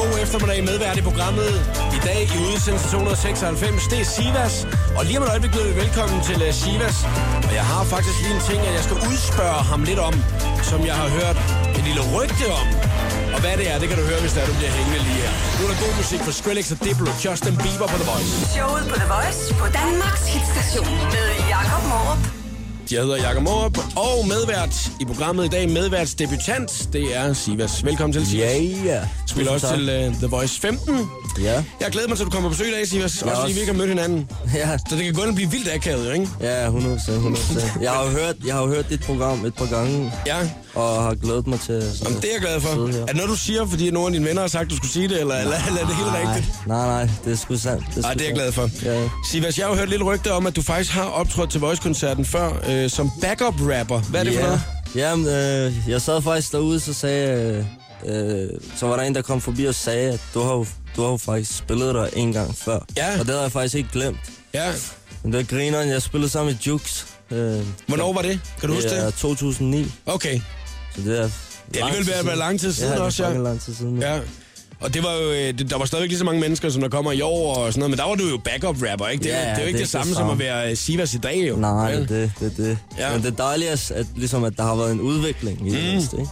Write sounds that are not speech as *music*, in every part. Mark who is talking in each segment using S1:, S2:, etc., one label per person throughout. S1: god eftermiddag medvært i programmet. I dag i udsendelse 296, det er Sivas. Og lige om et øjeblik byder vi velkommen til øh, Sivas. Og jeg har faktisk lige en ting, at jeg skal udspørge ham lidt om, som jeg har hørt et lille rygte om. Og hvad det er, det kan du høre, hvis der du bliver hængende lige her. Nu er der god musik fra Skrillex og Diplo, Justin Bieber på The Voice.
S2: Showet på The Voice på Danmarks hitstation med Jakob Morup.
S1: Jeg hedder Jakob Morup, og medvært i programmet i dag, medværts debutant, det er Sivas. Velkommen til Sivas.
S3: Ja, ja.
S1: Spiller også til uh, The Voice 15.
S3: Ja.
S1: Jeg glæder mig til, at du kommer på besøg i dag, Sivas. Også fordi
S3: også.
S1: vi ikke har mødt hinanden.
S3: Ja,
S1: Så det kan godt blive vildt akavet, ikke?
S3: ja 100 100 Jeg har jo hørt, jeg har jo hørt dit program et par gange,
S1: Ja,
S3: og har glædet mig til... Sådan
S1: Jamen, det er jeg glad for.
S3: Sidde her.
S1: Er det noget, du siger, fordi nogle af dine venner har sagt, du skulle sige det, eller, eller, eller er det helt rigtigt?
S3: Nej, nej, det er sgu sandt.
S1: Nej, det er jeg glad for.
S3: Ja.
S1: Sivas, jeg har jo hørt et lille rygte om, at du faktisk har optrådt til Voice-koncerten før øh, som backup-rapper. Hvad er det
S3: ja.
S1: for noget?
S3: Jamen, øh, jeg sad faktisk derude, så sagde... Øh, øh, så var der en, der kom forbi og sagde, at du har jo, du har jo faktisk spillet der en gang før.
S1: Ja.
S3: Og det havde jeg faktisk ikke glemt.
S1: Ja.
S3: Men det var grineren, jeg spillede sammen med Jukes. Øh,
S1: Hvornår var det? Kan du huske
S3: det? er
S1: det?
S3: 2009,
S1: Okay.
S3: så det er...
S1: Det er alligevel ved at være lang tid siden
S3: ja,
S1: også,
S3: ja.
S1: ja.
S3: det er fucking lang tid siden.
S1: Ja. Og det var jo, øh, det- der var stadigvæk lige så mange mennesker, som der kommer i år og sådan noget, men der var du jo backup-rapper, ikke? Det,
S3: Ja,
S1: det er jo ikke det, det samme som at være øh, Sivas i dag, jo.
S3: Nej,
S1: Vel?
S3: det er det, det, er det.
S1: Ja. Mm.
S3: Ja. Men det er dejligt, at, at, ligesom, at der har været en udvikling i det mindste, ikke?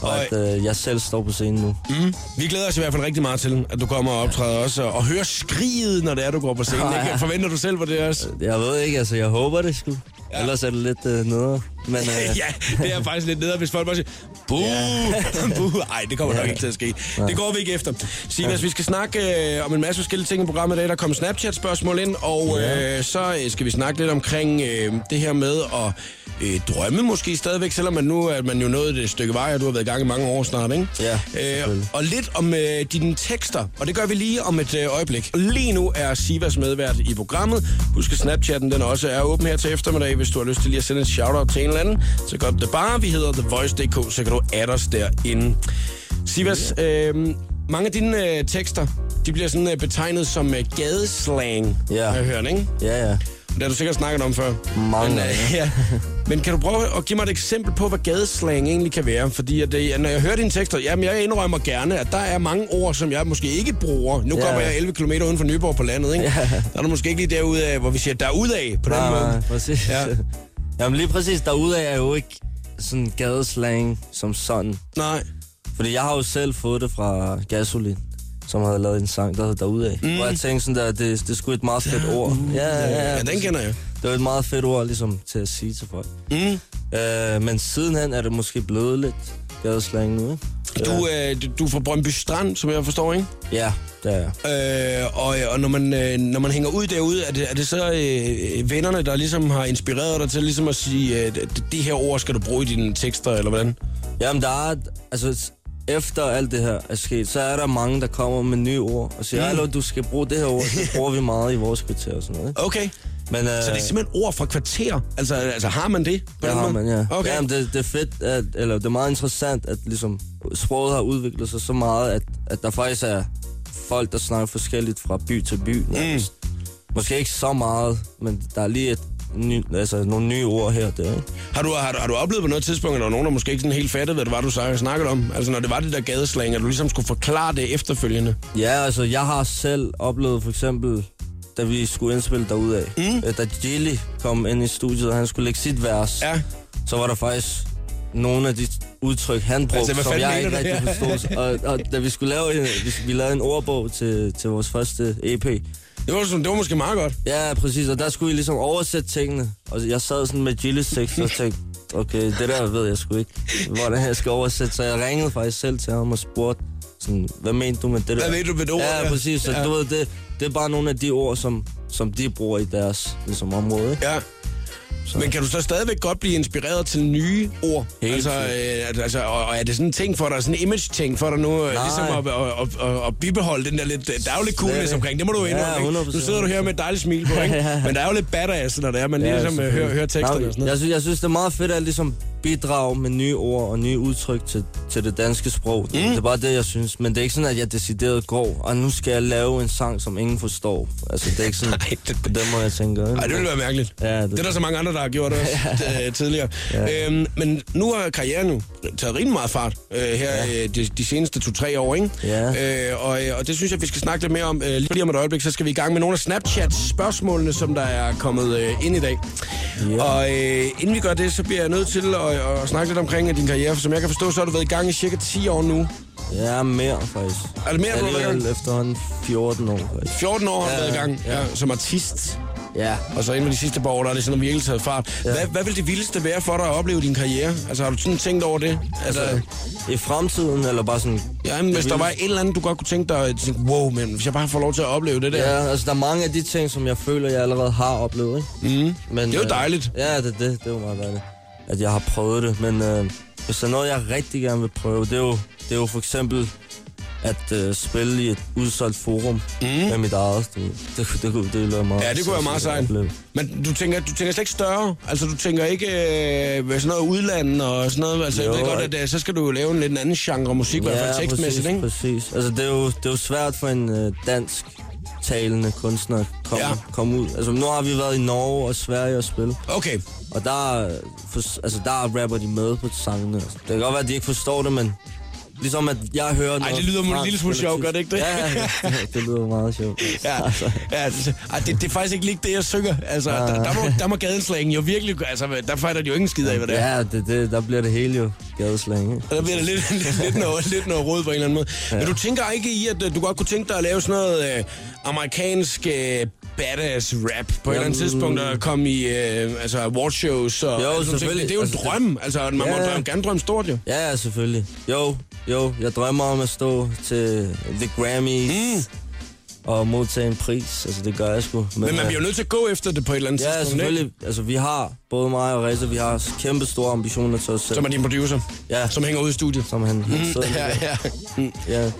S3: Og,
S1: Og-
S3: at øh, jeg selv står på scenen nu.
S1: Mm. Vi glæder os i hvert fald rigtig meget til, at du kommer og optræder også, og, og hører skriget, når det er, du går på scenen.
S3: Åh,
S1: Ikke?
S3: ja.
S1: Forventer du selv på det også?
S3: Jeg ved ikke, altså jeg håber det sgu. Ja. Ellers er det lidt øh, nedere. Men *laughs* øh,
S1: *laughs* ja, det er faktisk lidt nederen, hvis folk bare siger, *laughs* buh, buh. Ej, det kommer nok ikke til at ske. Det går vi ikke efter. Sivas, vi skal snakke øh, om en masse forskellige ting i programmet i dag. Der kom Snapchat-spørgsmål ind, og øh, så øh, skal vi snakke lidt omkring øh, det her med at øh, drømme måske stadigvæk, selvom man nu at man jo nået et stykke vej, og du har været i gang i mange år snart, ikke?
S3: Ja,
S1: øh,
S3: selvfølgelig.
S1: Og lidt om øh, dine tekster, og det gør vi lige om et øh, øjeblik. Lige nu er Sivas medvært i programmet. Husk, at Snapchatten den også er åben her til eftermiddag, hvis du har lyst til lige at sende en shout-out til en eller anden. Så godt det bare. Vi hedder TheVoice.dk, så kan du adde os derinde. Sivas, øh, mange af dine øh, tekster, de bliver sådan øh, betegnet som øh, gadeslang,
S3: Ja.
S1: har jeg hørt, ikke?
S3: ja, ja.
S1: Det har du sikkert snakket om før.
S3: Mange
S1: Men, øh, ja. Men kan du prøve at give mig et eksempel på, hvad gadeslang egentlig kan være? Fordi at det, når jeg hører dine tekster, jamen jeg indrømmer gerne, at der er mange ord, som jeg måske ikke bruger. Nu
S3: Ja.
S1: kommer jeg 11 km uden for Nyborg på landet, ikke? Der er du måske ikke lige derude af, hvor vi siger, der ud af på den
S3: Nej,
S1: måde.
S3: nej, præcis.
S1: Ja.
S3: Ja. *laughs* Jamen lige præcis, derudaf er jo ikke sådan gadeslang som sådan.
S1: Nej.
S3: Fordi jeg har jo selv fået det fra Gasolin, som havde lavet en sang, der hed Derudaf. Mm. Og jeg tænkte sådan der, det, det er sgu et meget fedt ord. Ja, ja,
S1: Ja, den kender jeg.
S3: Det var et meget fedt ord ligesom, til at sige til folk.
S1: Mm.
S3: Øh, men sidenhen er det måske blevet lidt gadeslang nu, ikke?
S1: Du, øh, du- du er fra Brøndby Strand, som jeg forstår, ikke?
S3: Ja, det er jeg.
S1: Øh, og, og når, man, øh, når man hænger ud derude, er det, er det så øh, vennerne, der ligesom har inspireret dig til ligesom at sige, øh, det, det her ord skal du bruge i dine tekster, eller hvordan?
S3: Jamen, der er... Altså, efter alt det her er sket, så er der mange, der kommer med nye ord og
S1: Mm.
S3: siger, hallo, du skal bruge det her ord, det bruger vi meget i vores kvarter og sådan
S1: *laughs*
S3: noget. Ikke?
S1: Okay,
S3: Men, øh,
S1: så det er simpelthen ord fra kvarter. Altså, altså har man det? På
S3: det
S1: den
S3: har
S1: måde?
S3: man, ja.
S1: Okay.
S3: Jamen, det, det er fedt, at, eller det er meget interessant, at ligesom, sproget har udviklet sig så meget, at, at der faktisk er folk, der snakker forskelligt fra by til by. Mm. Måske ikke så meget, men der er lige et ny, altså, nogle nye ord her og der. Ikke?
S1: har, du, har, du, har du oplevet på noget tidspunkt, at der var nogen, der måske ikke sådan helt fattede, hvad det var, du snak- snakkede om? Altså når det var det der gadeslang, at du ligesom skulle forklare det efterfølgende.
S3: Ja, altså, jeg har selv oplevet for eksempel, da vi skulle indspille derudad, mm. da Jilly kom ind i studiet, og han skulle lægge sit vers,
S1: Ja.
S3: så var der faktisk nogle af de udtryk, han brugte,
S1: Altså, hvad
S3: altså,
S1: fanden
S3: som jeg ikke
S1: mener du? *laughs*
S3: rigtig forstod. Og, og, da vi skulle lave en, vi, vi lavede en ordbog til, til vores første EP.
S1: Det var, sådan- det var måske meget godt.
S3: Ja, præcis, og der skulle vi ligesom oversætte tingene. Og jeg sad sådan med Jillys tekst og tænkte, okay, det der ved jeg sgu ikke, hvordan jeg skal oversætte. Så jeg ringede faktisk selv til ham og spurgte, sådan, hvad mente du med det der?
S1: Hvad ved du ved det ord?
S3: Ja,
S1: der?
S3: præcis. Så
S1: Ja.
S3: ja. du ved, det, det er bare nogle af de ord, som, som de bruger i deres ligesom, område. Ikke?
S1: Ja. Men kan du så stadigvæk godt blive inspireret til nye ord?
S3: Helt
S1: altså, øh, altså, og, og er det sådan en ting for dig, sådan en image-ting for dig nu, Nej.
S3: Nej.
S1: ligesom at, at, at, at, at bibeholde den der lidt øh, daglig coolness
S3: ikke.
S1: omkring? Det må du jo
S3: Ja,
S1: indrømme, ikke? Nu
S3: 100%.
S1: sidder du her med et dejligt smil på, ikke?
S3: *laughs* Ja.
S1: Men der er jo lidt badass, når det er, man
S3: Ja,
S1: ligesom øh, hører,
S3: selvfølgelig.
S1: hører teksterne
S3: Nej,
S1: og sådan noget.
S3: Jeg synes, jeg synes, det er meget fedt at ligesom bidrage med nye ord og nye udtryk til, til det danske sprog. Mm. Det er bare det, jeg synes. Men det er ikke sådan, at jeg decideret går, og nu skal jeg lave en sang, som ingen forstår. Altså, det er ikke sådan,
S1: *laughs* Nej, det-
S3: på den måde, jeg tænker. ikke?
S1: Ej, det ville være mærkeligt.
S3: Ja,
S1: det...
S3: det-
S1: det er der så mange andre, der har gjort
S3: *laughs*
S1: også øh, tidligere. Ja. Øhm, men nu har karrieren jo taget rimelig meget fart øh, her ja. øh, de, de seneste to-tre år, ikke?
S3: Ja.
S1: Øh, og, øh, og det synes jeg, vi skal snakke lidt mere om. Øh, lige lige om et øjeblik, så skal vi i gang med nogle af Snapchat-spørgsmålene, som der er kommet øh, ind i dag. Ja.
S3: Ja.
S1: Og øh, inden vi gør det, så bliver jeg nødt til at, at snakke lidt omkring øh, din karriere. For som jeg kan forstå, så har du været i gang i cirka 10 år nu.
S3: Ja, mere faktisk.
S1: Er det mere, du har været i gang?
S3: Alligevel efterhånden 14 år faktisk.
S1: 14 år har du
S3: Ja,
S1: været i gang
S3: ja.
S1: ja, som artist.
S3: Ja,
S1: Og så inden for de sidste par år, der er det sådan, at virkelig taget fart. Ja. Hvad, hvad vil det vildeste være for dig at opleve din karriere? Altså har du sådan tænkt over det? Altså,
S3: i fremtiden, eller bare sådan...
S1: ja, men hvis
S3: det
S1: der var
S3: vildeste-
S1: et eller andet, du godt kunne tænke dig, at tænke, wow, men hvis jeg bare får lov til at opleve det der. Ja.
S3: Ja, altså der er mange af de ting, som jeg føler, jeg allerede har oplevet, ikke? Mm. Men,
S1: Mhm. Det er jo
S3: øh,
S1: dejligt.
S3: Ja, det, det, det er jo meget dejligt, at jeg har prøvet det. Men øh, hvis der er noget, jeg rigtig gerne vil prøve, det er jo, det er jo for eksempel at øh, spille i et udsolgt forum mm. med mit eget. Det, det, det, det, kunne- det ville være meget
S1: Mhm. Ja, det kunne være meget
S3: sindssygt at
S1: sejt.
S3: opleve.
S1: Men du tænker, du tænker slet ikke større? Altså, du tænker ikke øh, sådan noget udlandet og sådan noget? Altså, jo,
S3: Jo,
S1: jeg ved godt,
S3: og-
S1: at øh, så skal du jo lave en lidt anden genre musik, ja, i hvert fald tekstmæssigt,
S3: præcis,
S1: ikke?
S3: præcis. Altså, det er, jo, det er jo svært for en øh, dansk talende kunstner at komme,
S1: Ja.
S3: ja. komme ud. Altså, nu har vi været i Norge og Sverige og spille,
S1: Okay,
S3: og der, øh, for, altså, der rapper de med på sangene. Altså, det kan godt være, at de ikke forstår det, men ligesom at jeg hører noget
S1: det lyder en
S3: fransk
S1: lille smule
S3: eller
S1: sjovt,
S3: tysk.
S1: gør det ikke det?
S3: Ja, ja, det, det lyder meget sjovt.
S1: ja,
S3: Altså.
S1: ja det, ej, det, det, er faktisk ikke lige det, jeg synger. Altså, der, der, må, der må gadenslængen jo virkelig... Altså, der fejler de jo ingen skid af, hvad det er.
S3: Ja, det, det, der bliver det hele jo gadeslang, ikke?
S1: Og der bliver der lidt, lidt, lidt, noget, lidt noget råd på en eller anden måde. Ja. Men du tænker ikke i, at øh, du godt kunne tænke dig at lave sådan noget øh, amerikansk øh, badass rap på Jamen, et eller andet
S3: Jamen.
S1: tidspunkt, og komme i øh, altså awardshows og...
S3: Jo,
S1: og sådan ting.
S3: selvfølgelig.
S1: Det er jo en
S3: Altså, det-
S1: drøm. Altså, man må
S3: Ja, ja.
S1: drømme, gerne drømme stort, jo.
S3: Ja, ja, selvfølgelig. Jo, jo, jeg drømmer om at stå til The Grammys mm. og modtage en pris. Altså, det gør jeg sgu. Men,
S1: Men man
S3: øh,
S1: bliver jo nødt til at gå efter det på et eller andet
S3: Ja,
S1: tidspunkt, ikke?
S3: selvfølgelig. Altså, vi har, både mig og Reza, vi har kæmpe store ambitioner til os selv.
S1: Som er Mm-hmm. din producer,
S3: Ja.
S1: som hænger ude i studiet.
S3: som han, han mm.
S1: Ja, ja. Mm.
S3: ja.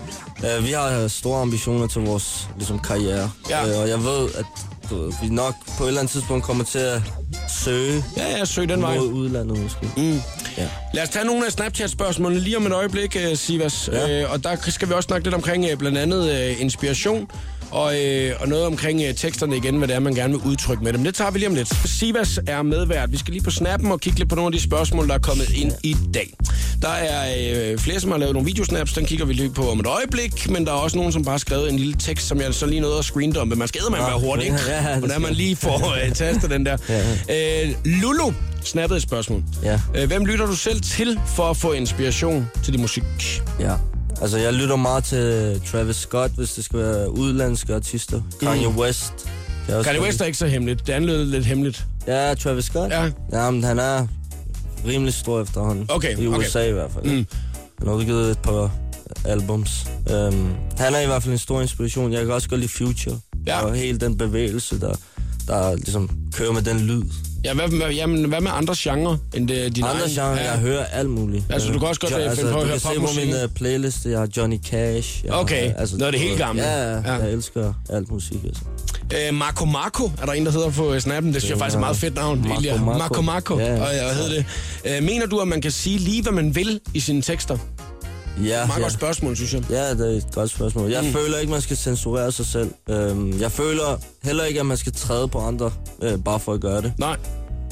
S3: Øh, vi har øh, store ambitioner til vores ligesom, karriere.
S1: Ja.
S3: Øh, og jeg ved, at du ved, vi nok på et eller andet tidspunkt kommer til at søge
S1: Ja, ja, søg den vej.
S3: mod udlandet, måske. Mm. Ja.
S1: Lad os tage nogle af Snapchat-spørgsmålene lige om et øjeblik, øh, Sivas.
S3: Ja.
S1: Øh, og der skal vi også snakke lidt omkring øh, blandt andet øh, inspiration og, øh, og noget omkring øh, teksterne igen, hvad det er, man gerne vil udtrykke med dem. Det tager vi lige om lidt. Sivas er medvært. Vi skal lige på snappen og kigge lidt på nogle af de spørgsmål, der er kommet ind i dag. Der er øh, flere, som har lavet nogle videosnaps, den kigger vi lige på om et øjeblik, men der er også nogen, som bare har skrevet en lille tekst, som jeg så lige nåede at screendumpe. Man skal man være hurtig, ikke?
S3: Ah, *laughs* Ja, ja, det
S1: Hvordan man
S3: skal-
S1: lige får
S3: *laughs*
S1: øh, tastet den der. Øh, Lulu snappede et spørgsmål.
S3: Ja.
S1: Øh, Hvem lytter du selv til for at få inspiration til din musik?
S3: Ja. Altså, jeg lytter meget til Travis Scott, hvis det skal være udlandske artister. Kanye West. Det er også
S1: Mm. Kanye West er ikke så hemmeligt. Det andet lød lidt hemmeligt.
S3: Ja, Travis Scott.
S1: Ja.
S3: Jamen, han er rimelig stor efterhånden.
S1: Okay,
S3: I
S1: okay.
S3: USA i hvert fald. Mm. Han har udgivet et par albums. Um, han er i hvert fald en stor inspiration. Jeg kan også godt lide Future.
S1: Ja.
S3: Og hele den bevægelse, der, der ligesom kører med den lyd.
S1: Ja, hvad, hvad, jamen, hvad med andre genre end det, din
S3: Andre
S1: egen?
S3: genre, ja. jeg hører alt muligt.
S1: Altså, du kan også godt, øh, finde
S3: altså,
S1: på at
S3: du
S1: høre
S3: kan se på
S1: popmusik.
S3: min uh, playliste, jeg har Johnny Cash. Jeg
S1: Okay.
S3: har,
S1: Nå, det er
S3: du
S1: helt
S3: ved-
S1: gamle.
S3: Ja, ja,
S1: Ja.
S3: jeg elsker alt musik. Altså.
S1: Øh, Marco Marco er der en, der hedder på øh, snappen. Det synes jeg faktisk er et meget fedt navn.
S3: Marco
S1: egentlig.
S3: Marco.
S1: Marco. Marco.
S3: Ja, ja.
S1: Og, ja, hvad hedder det? Øh, mener du, at man kan sige lige, hvad man vil i sine tekster?
S3: Ja,
S1: Meget
S3: Ah, ja.
S1: godt spørgsmål, synes jeg.
S3: Ja, det er et godt spørgsmål. Jeg mm. føler ikke, man skal censurere sig selv. Øhm, jeg føler heller ikke, at man skal træde på andre, øh, bare for at gøre det.
S1: Nej.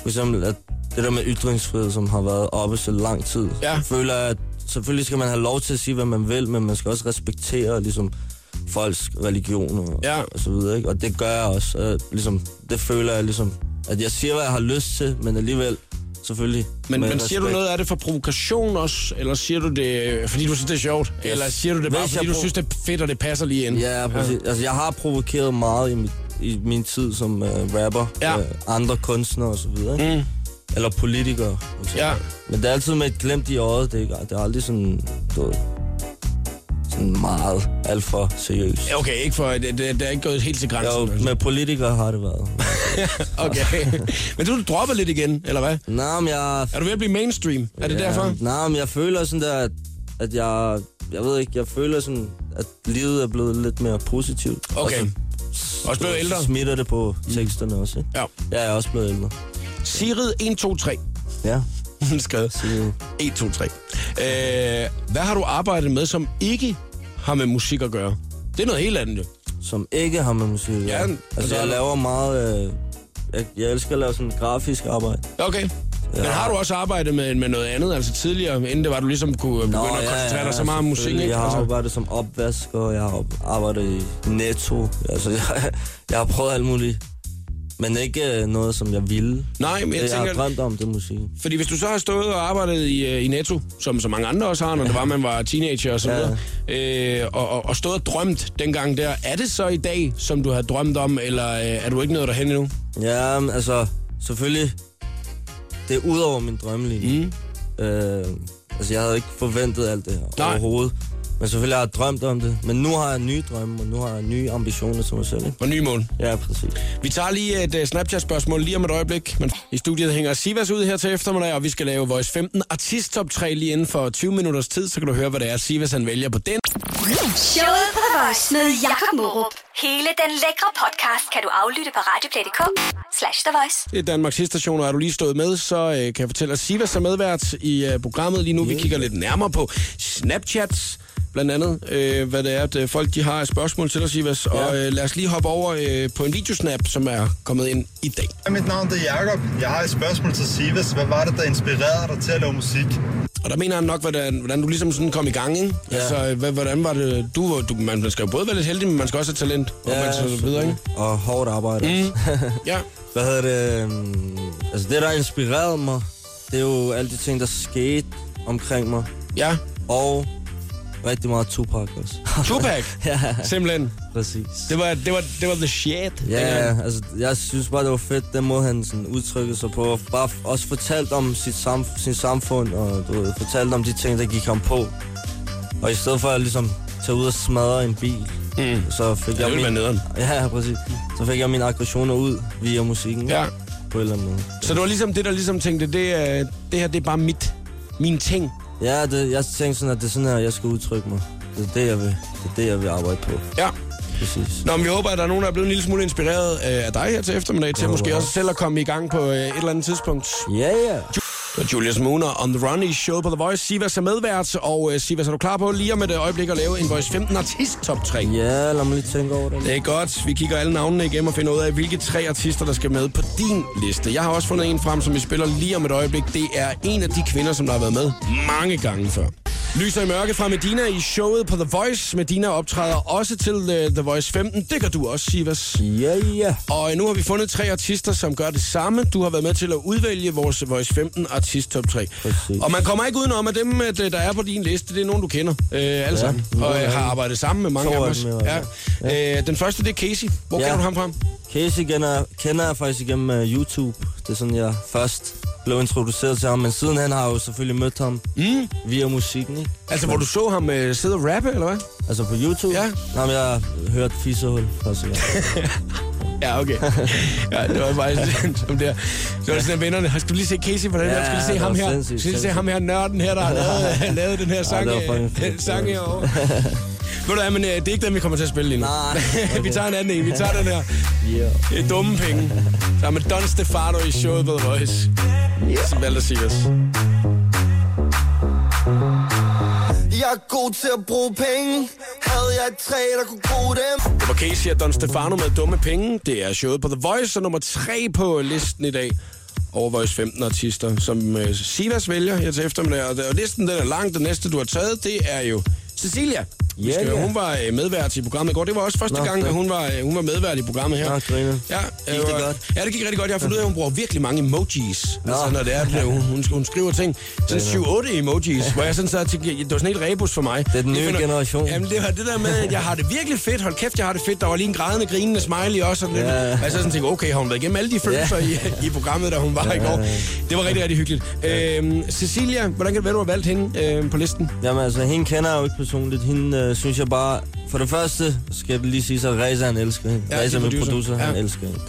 S3: For eksempel at det der med ytringsfrihed, som har været oppe så lang tid.
S1: Ja.
S3: Jeg føler, at selvfølgelig skal man have lov til at sige, hvad man vil, men man skal også respektere ligesom, folks religion og,
S1: Ja.
S3: og så videre. Ikke? Og det gør jeg også. Øh, ligesom, det føler jeg ligesom, at jeg siger, hvad jeg har lyst til, men alligevel selvfølgelig
S1: Men,
S3: med
S1: men siger du
S3: respekt.
S1: noget af det for provokation også? Eller siger du det, øh, fordi du synes, det er sjovt? Eller siger du det bare,
S3: Hvis jeg
S1: fordi du
S3: prov-
S1: synes, det er fedt, og det passer lige ind?
S3: Ja, præcis. Ja. Altså, jeg har provokeret meget i, mit, i min tid som øh, rapper.
S1: Ja.
S3: Øh, andre kunstnere og så videre. Mm. Eller politikere. for eksempel.
S1: Ja.
S3: Men det er altid med et glemt i øjet. Det er, ikke- det er aldrig sådan, du ved, sådan meget alt for seriøst.
S1: Ja, Okay, ikke for, det, det, det er ikke gået helt til grænsen.
S3: Jo, med politikere har det
S1: *laughs*
S3: været.
S1: Okay. *laughs* Men du droppet lidt igen, eller hvad?
S3: Nå, men jeg...
S1: Er du ved at blive mainstream? Er det ja. derfor?
S3: Nej, men jeg føler sådan der, at, at jeg... Jeg ved ikke, jeg føler sådan, at livet er blevet lidt mere positivt.
S1: Okay.
S3: Og så,
S1: Også blevet ældre?
S3: Så smitter det på teksterne også, ikke?
S1: Ja.
S3: Jeg er også blevet ældre.
S1: Sigrid 123.
S3: Ja.
S1: *laughs* hun skrev. 1, 2, 3. Øh, hvad har du arbejdet med, som ikke har med musik at gøre? Det er noget helt andet, jo.
S3: som ikke har med musik. at
S1: Ja,
S3: gøre.
S1: altså-
S3: altså, jeg laver meget... Øh, jeg, jeg elsker at lave sådan grafisk arbejde.
S1: Okay. Ja. Men har du også arbejdet med, med noget andet, altså tidligere, inden det var, du ligesom kunne begynde Nå, at koncentrere dig så meget om musik?
S3: selvfølgelig.
S1: Ikke?
S3: Jeg har
S1: Altså,
S3: arbejdet som opvasker, jeg har arbejdet i Netto. Altså, *laughs* jeg, jeg har prøvet alt muligt. Men ikke øh, noget, som jeg ville.
S1: nej, men
S3: Jeg,
S1: jeg
S3: jeg har
S1: tænker,
S3: drømt om det musik.
S1: Fordi hvis du så har stået og arbejdet i, øh, i Netto, som så mange andre også har, når det var, man var teenager og så videre, øh, og, og, og stået og drømt dengang der, er det så i dag, som du har drømt om, eller øh, er du ikke nået derhen endnu?
S3: Ja, men altså, selvfølgelig, det er ud over min drømmelinje. Mm. Øh, altså, jeg havde ikke forventet alt det her
S1: Nej.
S3: overhovedet. Men selvfølgelig har jeg drømt om det. Men nu har jeg nye drømme, og nu har jeg nye ambitioner til mig selv. ikke?
S1: Og nye mål.
S3: Ja, præcis.
S1: Vi tager lige et øh, Snapchat-spørgsmål lige om et øjeblik, men i studiet hænger Sivas ud her til eftermiddag, og vi skal lave Voice 15 Artist Top 3 lige inden for 20 minutters tid, så kan du høre, hvad det er, Sivas han vælger på den.
S2: Showet på The Voice med Jakob Morup. Hele den lækre podcast kan du aflytte på radioplay.dk slash The Voice.
S1: Det er Danmarks station, og er du lige stået med, så øh, kan jeg fortælle, at Sivas er medvært i øh, programmet lige nu. Vi kigger lidt nærmere på Snapchats, blandt andet, øh, hvad det er, at øh, folk de har af spørgsmål til dig, Sivas. Ja. Og øh, lad os lige hoppe over øh, på en videosnap, som er kommet ind i dag.
S4: Hej, mit navn det er Jakob. Jeg har et spørgsmål til Sivas. Hvad var det, der inspirerede dig til at lave musik?
S1: Og der mener han nok, hvordan, hvordan du ligesom sådan kom i gang, ikke? Ja.
S3: Ja.
S1: Altså, øh, hva- hvordan var det? Du, du, man man skal jo både være lidt heldig, men man skal også have talent. Ja, og man skal så videre, ikke?
S3: Og hårdt arbejde. Mm.
S1: Ja.
S3: *laughs* Hvad hedder det? øhm, Altså det, der inspirerede mig, det er jo alle de ting, der skete omkring mig.
S1: Ja.
S3: Og rigtig meget Tupac også.
S1: Tupac.
S3: *laughs* ja,
S1: Simpelthen.
S3: præcis.
S1: Det var, det var, det var the shit. dengang.
S3: Ja, altså jeg synes bare, det var fedt, den måde han sådan udtrykkede sig på. Og Bare f- også fortalt om sit sam sin samfund, og du ved, fortalt om de ting, der gik ham på. Og i stedet for at ligesom tage ud og smadre en bil, mm. så fik
S1: det
S3: jeg
S1: ville være nederen.
S3: *laughs* Ja, præcis. Så fik jeg mine aggressioner ud via musikken.
S1: Ja.
S3: På en eller anden måde.
S1: Så det var ligesom det, der ligesom tænkte, det, øh, det her, det er bare mit, min ting.
S3: Ja, det, jeg tænkte sådan, at det er sådan her, jeg skal udtrykke mig. Det er det, jeg vil, det, er det, jeg vil arbejde på.
S1: Ja.
S3: Præcis.
S1: Nå, men vi håber, at der er nogen, der er blevet en lille smule inspireret øh, af dig her til eftermiddag, til måske også selv at komme i gang på øh, et eller andet tidspunkt.
S3: Ja, ja.
S1: Så Julius Mooner on the run i showet på The Voice. Sivas er medvært, og øh, Sivas, er du klar på lige om et øh, øjeblik at lave en Voice 15 artist top 3?
S3: Ja, lad mig lige tænke over det.
S1: Det er godt. Vi kigger alle navnene igennem og finder ud af, hvilke tre artister, der skal med på din liste. Jeg har også fundet en frem, som vi spiller lige om et øjeblik. Det er en af de kvinder, som der har været med mange gange før. Lyser i mørke fra Medina i showet på The Voice. Medina optræder også til øh, The Voice 15. Det kan du også, Sivas.
S3: Ja, ja.
S1: Og øh, nu har vi fundet tre artister, som gør det samme. Du har været med til at udvælge vores Voice 15 artist top 3.
S3: Præcis.
S1: Og man kommer ikke udenom, at dem, øh, der er på din liste, det er nogen, du kender øh, alle ja, sammen. Og øh, har arbejdet sammen med mange
S3: To
S1: af dem
S3: af
S1: også.
S3: dem,
S1: Ja.
S3: ja.
S1: Ja. Øh, den første, det er Casey. Hvor ja.
S3: Ja.
S1: kender du ham fra?
S3: Casey kender, kender jeg faktisk igennem uh, YouTube. Det er sådan, jeg først blev introduceret til ham. Men siden han har jeg jo selvfølgelig mødt ham mm. via musikken, ikke?
S1: Altså, hvor du så ham øh, sidde og rappe, eller hvad?
S3: Altså på YouTube.
S1: Ja.
S3: Nå, men jeg hørte Fisehul første gang.
S1: Ja,
S3: *laughs*
S1: okay. Ja, det var faktisk *laughs* sådan, som der. Det var sådan, at vennerne, "Har- skal du lige se Casey på den
S3: Ja,
S1: her? Skal du lige se
S3: det
S1: ham
S3: var
S1: her? Skal
S3: sindssygt,
S1: du lige se
S3: sindssygt.
S1: ham her, nørden her, der har
S3: *laughs*
S1: lavet, lavet den her sang,
S3: det var
S1: øh,
S3: fucking fedt.
S1: sang
S3: Det var *laughs*
S1: herovre? Ved du hvad, men øh, det er ikke den, vi kommer til at spille lige nu.
S3: Nej, okay.
S1: *laughs* vi tager en anden en. Vi tager den her.
S3: yeah.
S1: Det er dumme penge. Der er med Don Stefano i showet på The Voice. Som valgte Sivas.
S5: Jeg er god til at bruge penge Havde jeg et træ, der kunne bruge dem
S1: Det var Casey og Don Stefano med dumme penge. Det er showet på The Voice, og nummer tre på listen i dag over Voice 15 artister, som øh, Sivas vælger her til eftermiddag. Og, og listen den er lang. Den næste, du har taget, det er jo Cecilia. Vi
S3: Ja,
S1: skal,
S3: ja.
S1: Hun var øh, medvært i programmet i går. Det var også første
S3: Nå,
S1: gang,
S3: ja.
S1: at hun var, øh, hun var medvært i programmet her.
S3: Nå, griner.
S1: Ja, øh,
S3: Gik det
S1: og-
S3: godt?
S1: Ja, det gik rigtig godt. Jeg har fundet ud af, at hun bruger virkelig mange emojis. Nå.
S3: Nå.
S1: Altså, når det er, at hun, hun, hun skriver ting. Sådan 7-8 emojis, hvor jeg sådan sad og tænkte, det var sådan helt rebus for mig.
S3: Det er den nye
S1: Jeg
S3: generation.
S1: Jamen, det var det der med, at jeg har det virkelig fedt. Hold kæft, jeg har det fedt. Der var lige en grædende, grinende smiley også. Og sådan
S3: Ja.
S1: lidt. Og jeg så sådan tænkte, okay, har hun været igennem alle de følelser i, i programmet, da hun var i går. Det var rigtig, rigtig hyggeligt. Øhm, Cecilia, hvordan kan det være, du har valgt hende øh, på listen?
S3: Jamen altså, hende kender jeg jo ikke personligt. Hende øh, synes jeg bare... For det første skal det lige sige, at Reza han elsker hende.
S1: Ja,
S3: Ja, Reza,
S1: din
S3: min
S1: producer.
S3: producer, han
S1: Ja.
S3: elsker hende.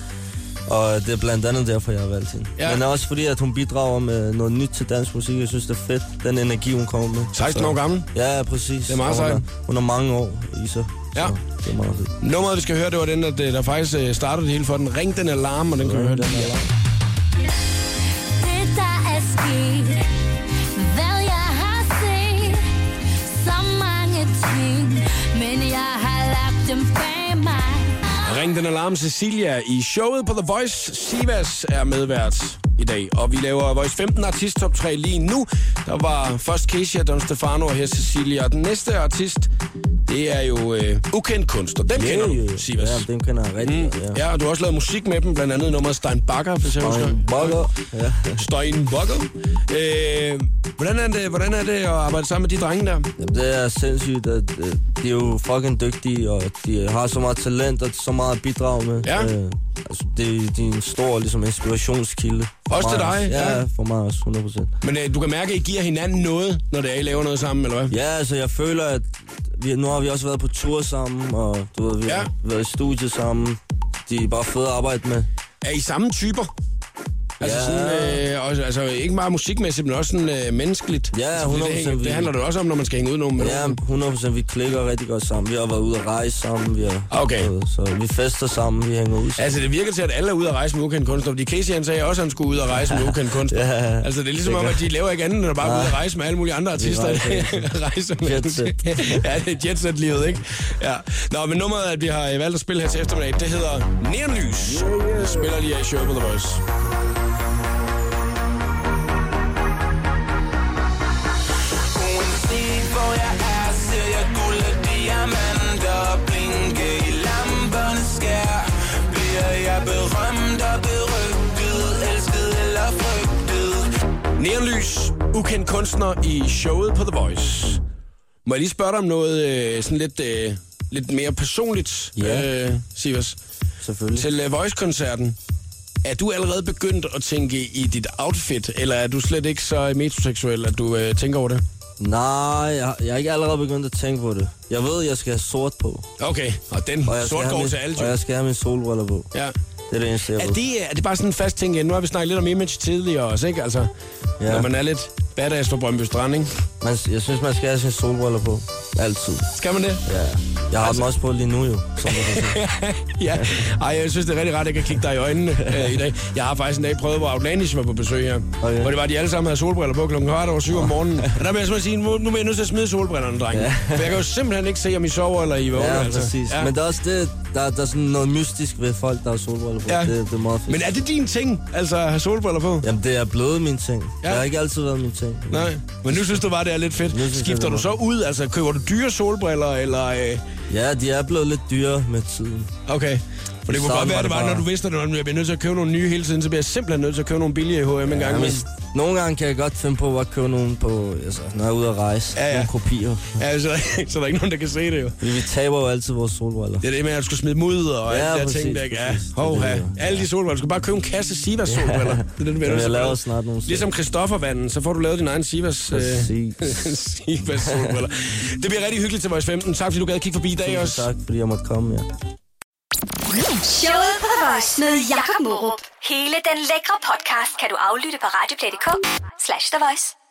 S3: Og det er blandt andet derfor, jeg har valgt hende.
S1: Ja.
S3: Ja. Men også fordi, at hun bidrager med noget nyt til dansk musik. Jeg synes, det er fedt, den energi, hun kommer med.
S1: 16
S3: Så-
S1: år gammel.
S3: Ja, præcis. Det
S1: er meget
S3: hun,
S1: sejt.
S3: er, hun er mange år i sig.
S1: Ja.
S3: Så det er meget fedt.
S1: Nummeret, vi skal høre, det var den, der, der faktisk øh, startede det hele for den. Ring den alarm, og den kan vi høre.
S3: Den er lang.
S6: Det der er sket sige Hvad jeg har set Så mange ting Men jeg har lagt um dem bag mig
S1: Ring den alarm Cecilia i showet på The Voice. Sivas er medvært i dag, og vi laver Voice 15 artist top 3 lige nu. Der var først Keisha, Don Stefano og her Cecilia. Og den næste artist, det er jo øh, ukendt kunst, og den yeah, kender du, Sivas. Mm.
S3: Ja, dem kender jeg rigtig godt, ja.
S1: Ja, og du har også lavet musik med dem, blandt andet nummeret Stein Bakker, hvis jeg husker.
S3: Stein Bakker, ja.
S1: Stein Bakker. Øh, hvordan, er det, hvordan er det at arbejde sammen med de drenge der?
S3: Jamen, det er sindssygt, at øh, de er jo fucking dygtige, og de har så meget talent og så meget at bidrage med.
S1: Ja.
S3: Øh, altså, det, de er en stor ligesom, inspirationskilde. for
S1: Også til
S3: mig
S1: dig,
S3: Ja,
S1: ja.
S3: ja, for mig også, 100%.
S1: Men øh, du kan mærke, at I giver hinanden noget, når det er, I laver noget sammen, eller hvad?
S3: Ja, altså, jeg føler, at vi, nu har vi også været på tur sammen, og du ved, vi
S1: Ja.
S3: ja. har været i studiet sammen. De er bare fede at arbejde med.
S1: Er I samme typer? Altså,
S3: Ja.
S1: sådan, øh, også, altså ikke bare musikmæssigt, men også sådan, øh, menneskeligt.
S3: Ja,
S1: altså, det,
S3: 100%
S1: det, det
S3: vi-
S1: handler det også om, når man skal hænge ud nogen med
S3: Ja,
S1: nogen.
S3: 100% vi klikker rigtig godt sammen. Vi har været ude at rejse sammen. Vi har,
S1: Ah, Okay.
S3: Så, så vi fester sammen, vi hænger ud sammen.
S1: Altså, det virker til, at alle er ude at rejse med ukendt kunstner, fordi Casey han sagde også, at han skulle ud og rejse med ukendt kunstner.
S3: Ja.
S1: altså, det er ligesom om, at de laver ikke andet, end at bare ud og rejse med alle mulige andre artister.
S3: rejser.
S1: *laughs* rejse med
S3: Jet set.
S1: ja, det er jetset livet, ikke? Ja. Nå, men nummeret, at vi har øh, valgt at spille her til eftermiddag, det hedder Neonlys. Det spiller lige af i Show på The Voice.
S7: Uanset hvor jeg er, ser jeg guld og diamanter Blinke i lamperne skær Bliver jeg berømt og berygtet Elsket eller frygtet
S1: Neonlys, ukendt kunstner i showet på The Voice. Må jeg lige spørge dig om noget øh, sådan lidt, øh, lidt mere personligt,
S3: Ja. Mm.
S1: øh, Sivas?
S3: Selvfølgelig.
S1: Til øh, Voice-koncerten, er du allerede begyndt at tænke i dit outfit, eller er du slet ikke så metroseksuel, at du øh, tænker over det?
S3: Nej, jeg, jeg er ikke allerede begyndt at tænke på det. Jeg ved, jeg skal have sort på.
S1: Okay, og den
S3: Og jeg skal
S1: sort
S3: have
S1: går
S3: min,
S1: til alle.
S3: Og
S1: jo.
S3: jeg skal have min solbriller på.
S1: Ja.
S3: Det er det eneste, jeg
S1: Er
S3: ved.
S1: det, er det bare sådan en fast ting? ja? Nu har vi snakket lidt om image tidligere også, ikke? Altså, ja.
S3: Ja.
S1: når man er lidt badass på Brøndby Strand, ikke?
S3: Man, jeg synes, man skal have sin solbriller på. Altid.
S1: Skal man
S3: *laughs*
S1: det?
S3: Ja. Jeg har altså... dem også på lige nu
S1: *laughs*
S3: jo. Som du kan se.
S1: ja. Ej, jeg synes, det er rigtig rart, at jeg kan kigge dig i øjnene øh, i dag. Jeg har faktisk en dag prøvet, hvor Outlandish var på besøg her. Okay.
S3: Okay.
S1: Hvor det var, at de alle sammen havde solbriller på klokken kvart over syv om morgenen. Og der vil jeg simpelthen sige, nu nu bliver jeg nødt til at smide solbrillerne, drenge. Ja. For jeg kan jo simpelthen ikke se, om I sover eller I vågner.
S3: ja,
S1: altså.
S3: præcis. Ja. Men der er også det, der, der er sådan noget mystisk ved folk, der har solbriller på.
S1: Ja.
S3: Ja. Det, det er meget fedt.
S1: Men er det din ting, altså at have solbriller på?
S3: Jamen, det er blevet min ting.
S1: Ja.
S3: Ja. Det har ikke altid været min ting.
S1: Nej, men nu synes du bare, det er lidt
S3: Nu synes
S1: fedt.
S3: jeg,
S1: Skifter
S3: det
S1: du
S3: er
S1: så ud? Altså, køber du dyre solbriller, eller... Øh,
S3: Ja, de er blevet lidt dyre med tiden.
S1: okay. For det kunne
S3: Sådan
S1: godt være,
S3: var
S1: det
S3: det
S1: var,
S3: bare.
S1: når du vidste, at du bliver nødt til at købe nogle nye hele tiden, så bliver jeg simpelthen nødt til at købe nogle billige i H&M en gang.
S3: Jamen,
S1: imellem.
S3: nogle gange kan jeg godt finde på at købe nogle på, altså, når jeg er ude at rejse.
S1: Ja, ja.
S3: Nogle kopier.
S1: Ja, så, så der er ikke nogen, der kan se det jo.
S3: Fordi vi taber jo altid vores solbriller.
S1: Det er det med, at du skulle smide dem ud og
S3: Ja,
S1: alle de der
S3: præcis,
S1: ting, der ikke er.
S3: præcis.
S1: Hov,
S3: Det er
S1: ja.
S3: det, ja.
S1: Alle de solbriller. Du skal bare købe en kasse Sivas solbriller. Det er det, du bliver
S3: Jamen,
S1: nødt
S3: jeg
S1: til at
S3: laver
S1: gøre.
S3: snart nogle selv.
S1: Ligesom Christoffervanden, så får du lavet din egen Sivas, øh,
S3: Præcis.
S1: *laughs* Sivas solbriller. Det bliver rigtig hyggeligt til vores 15. Tak fordi du gad at kigge forbi i dag
S3: Tusind
S1: også.
S3: tak, fordi jeg måtte komme, ja.
S2: Showet på The Voice med Jakob Morup. Hele den lækre podcast kan du aflytte på radioplay.dk slash The Voice.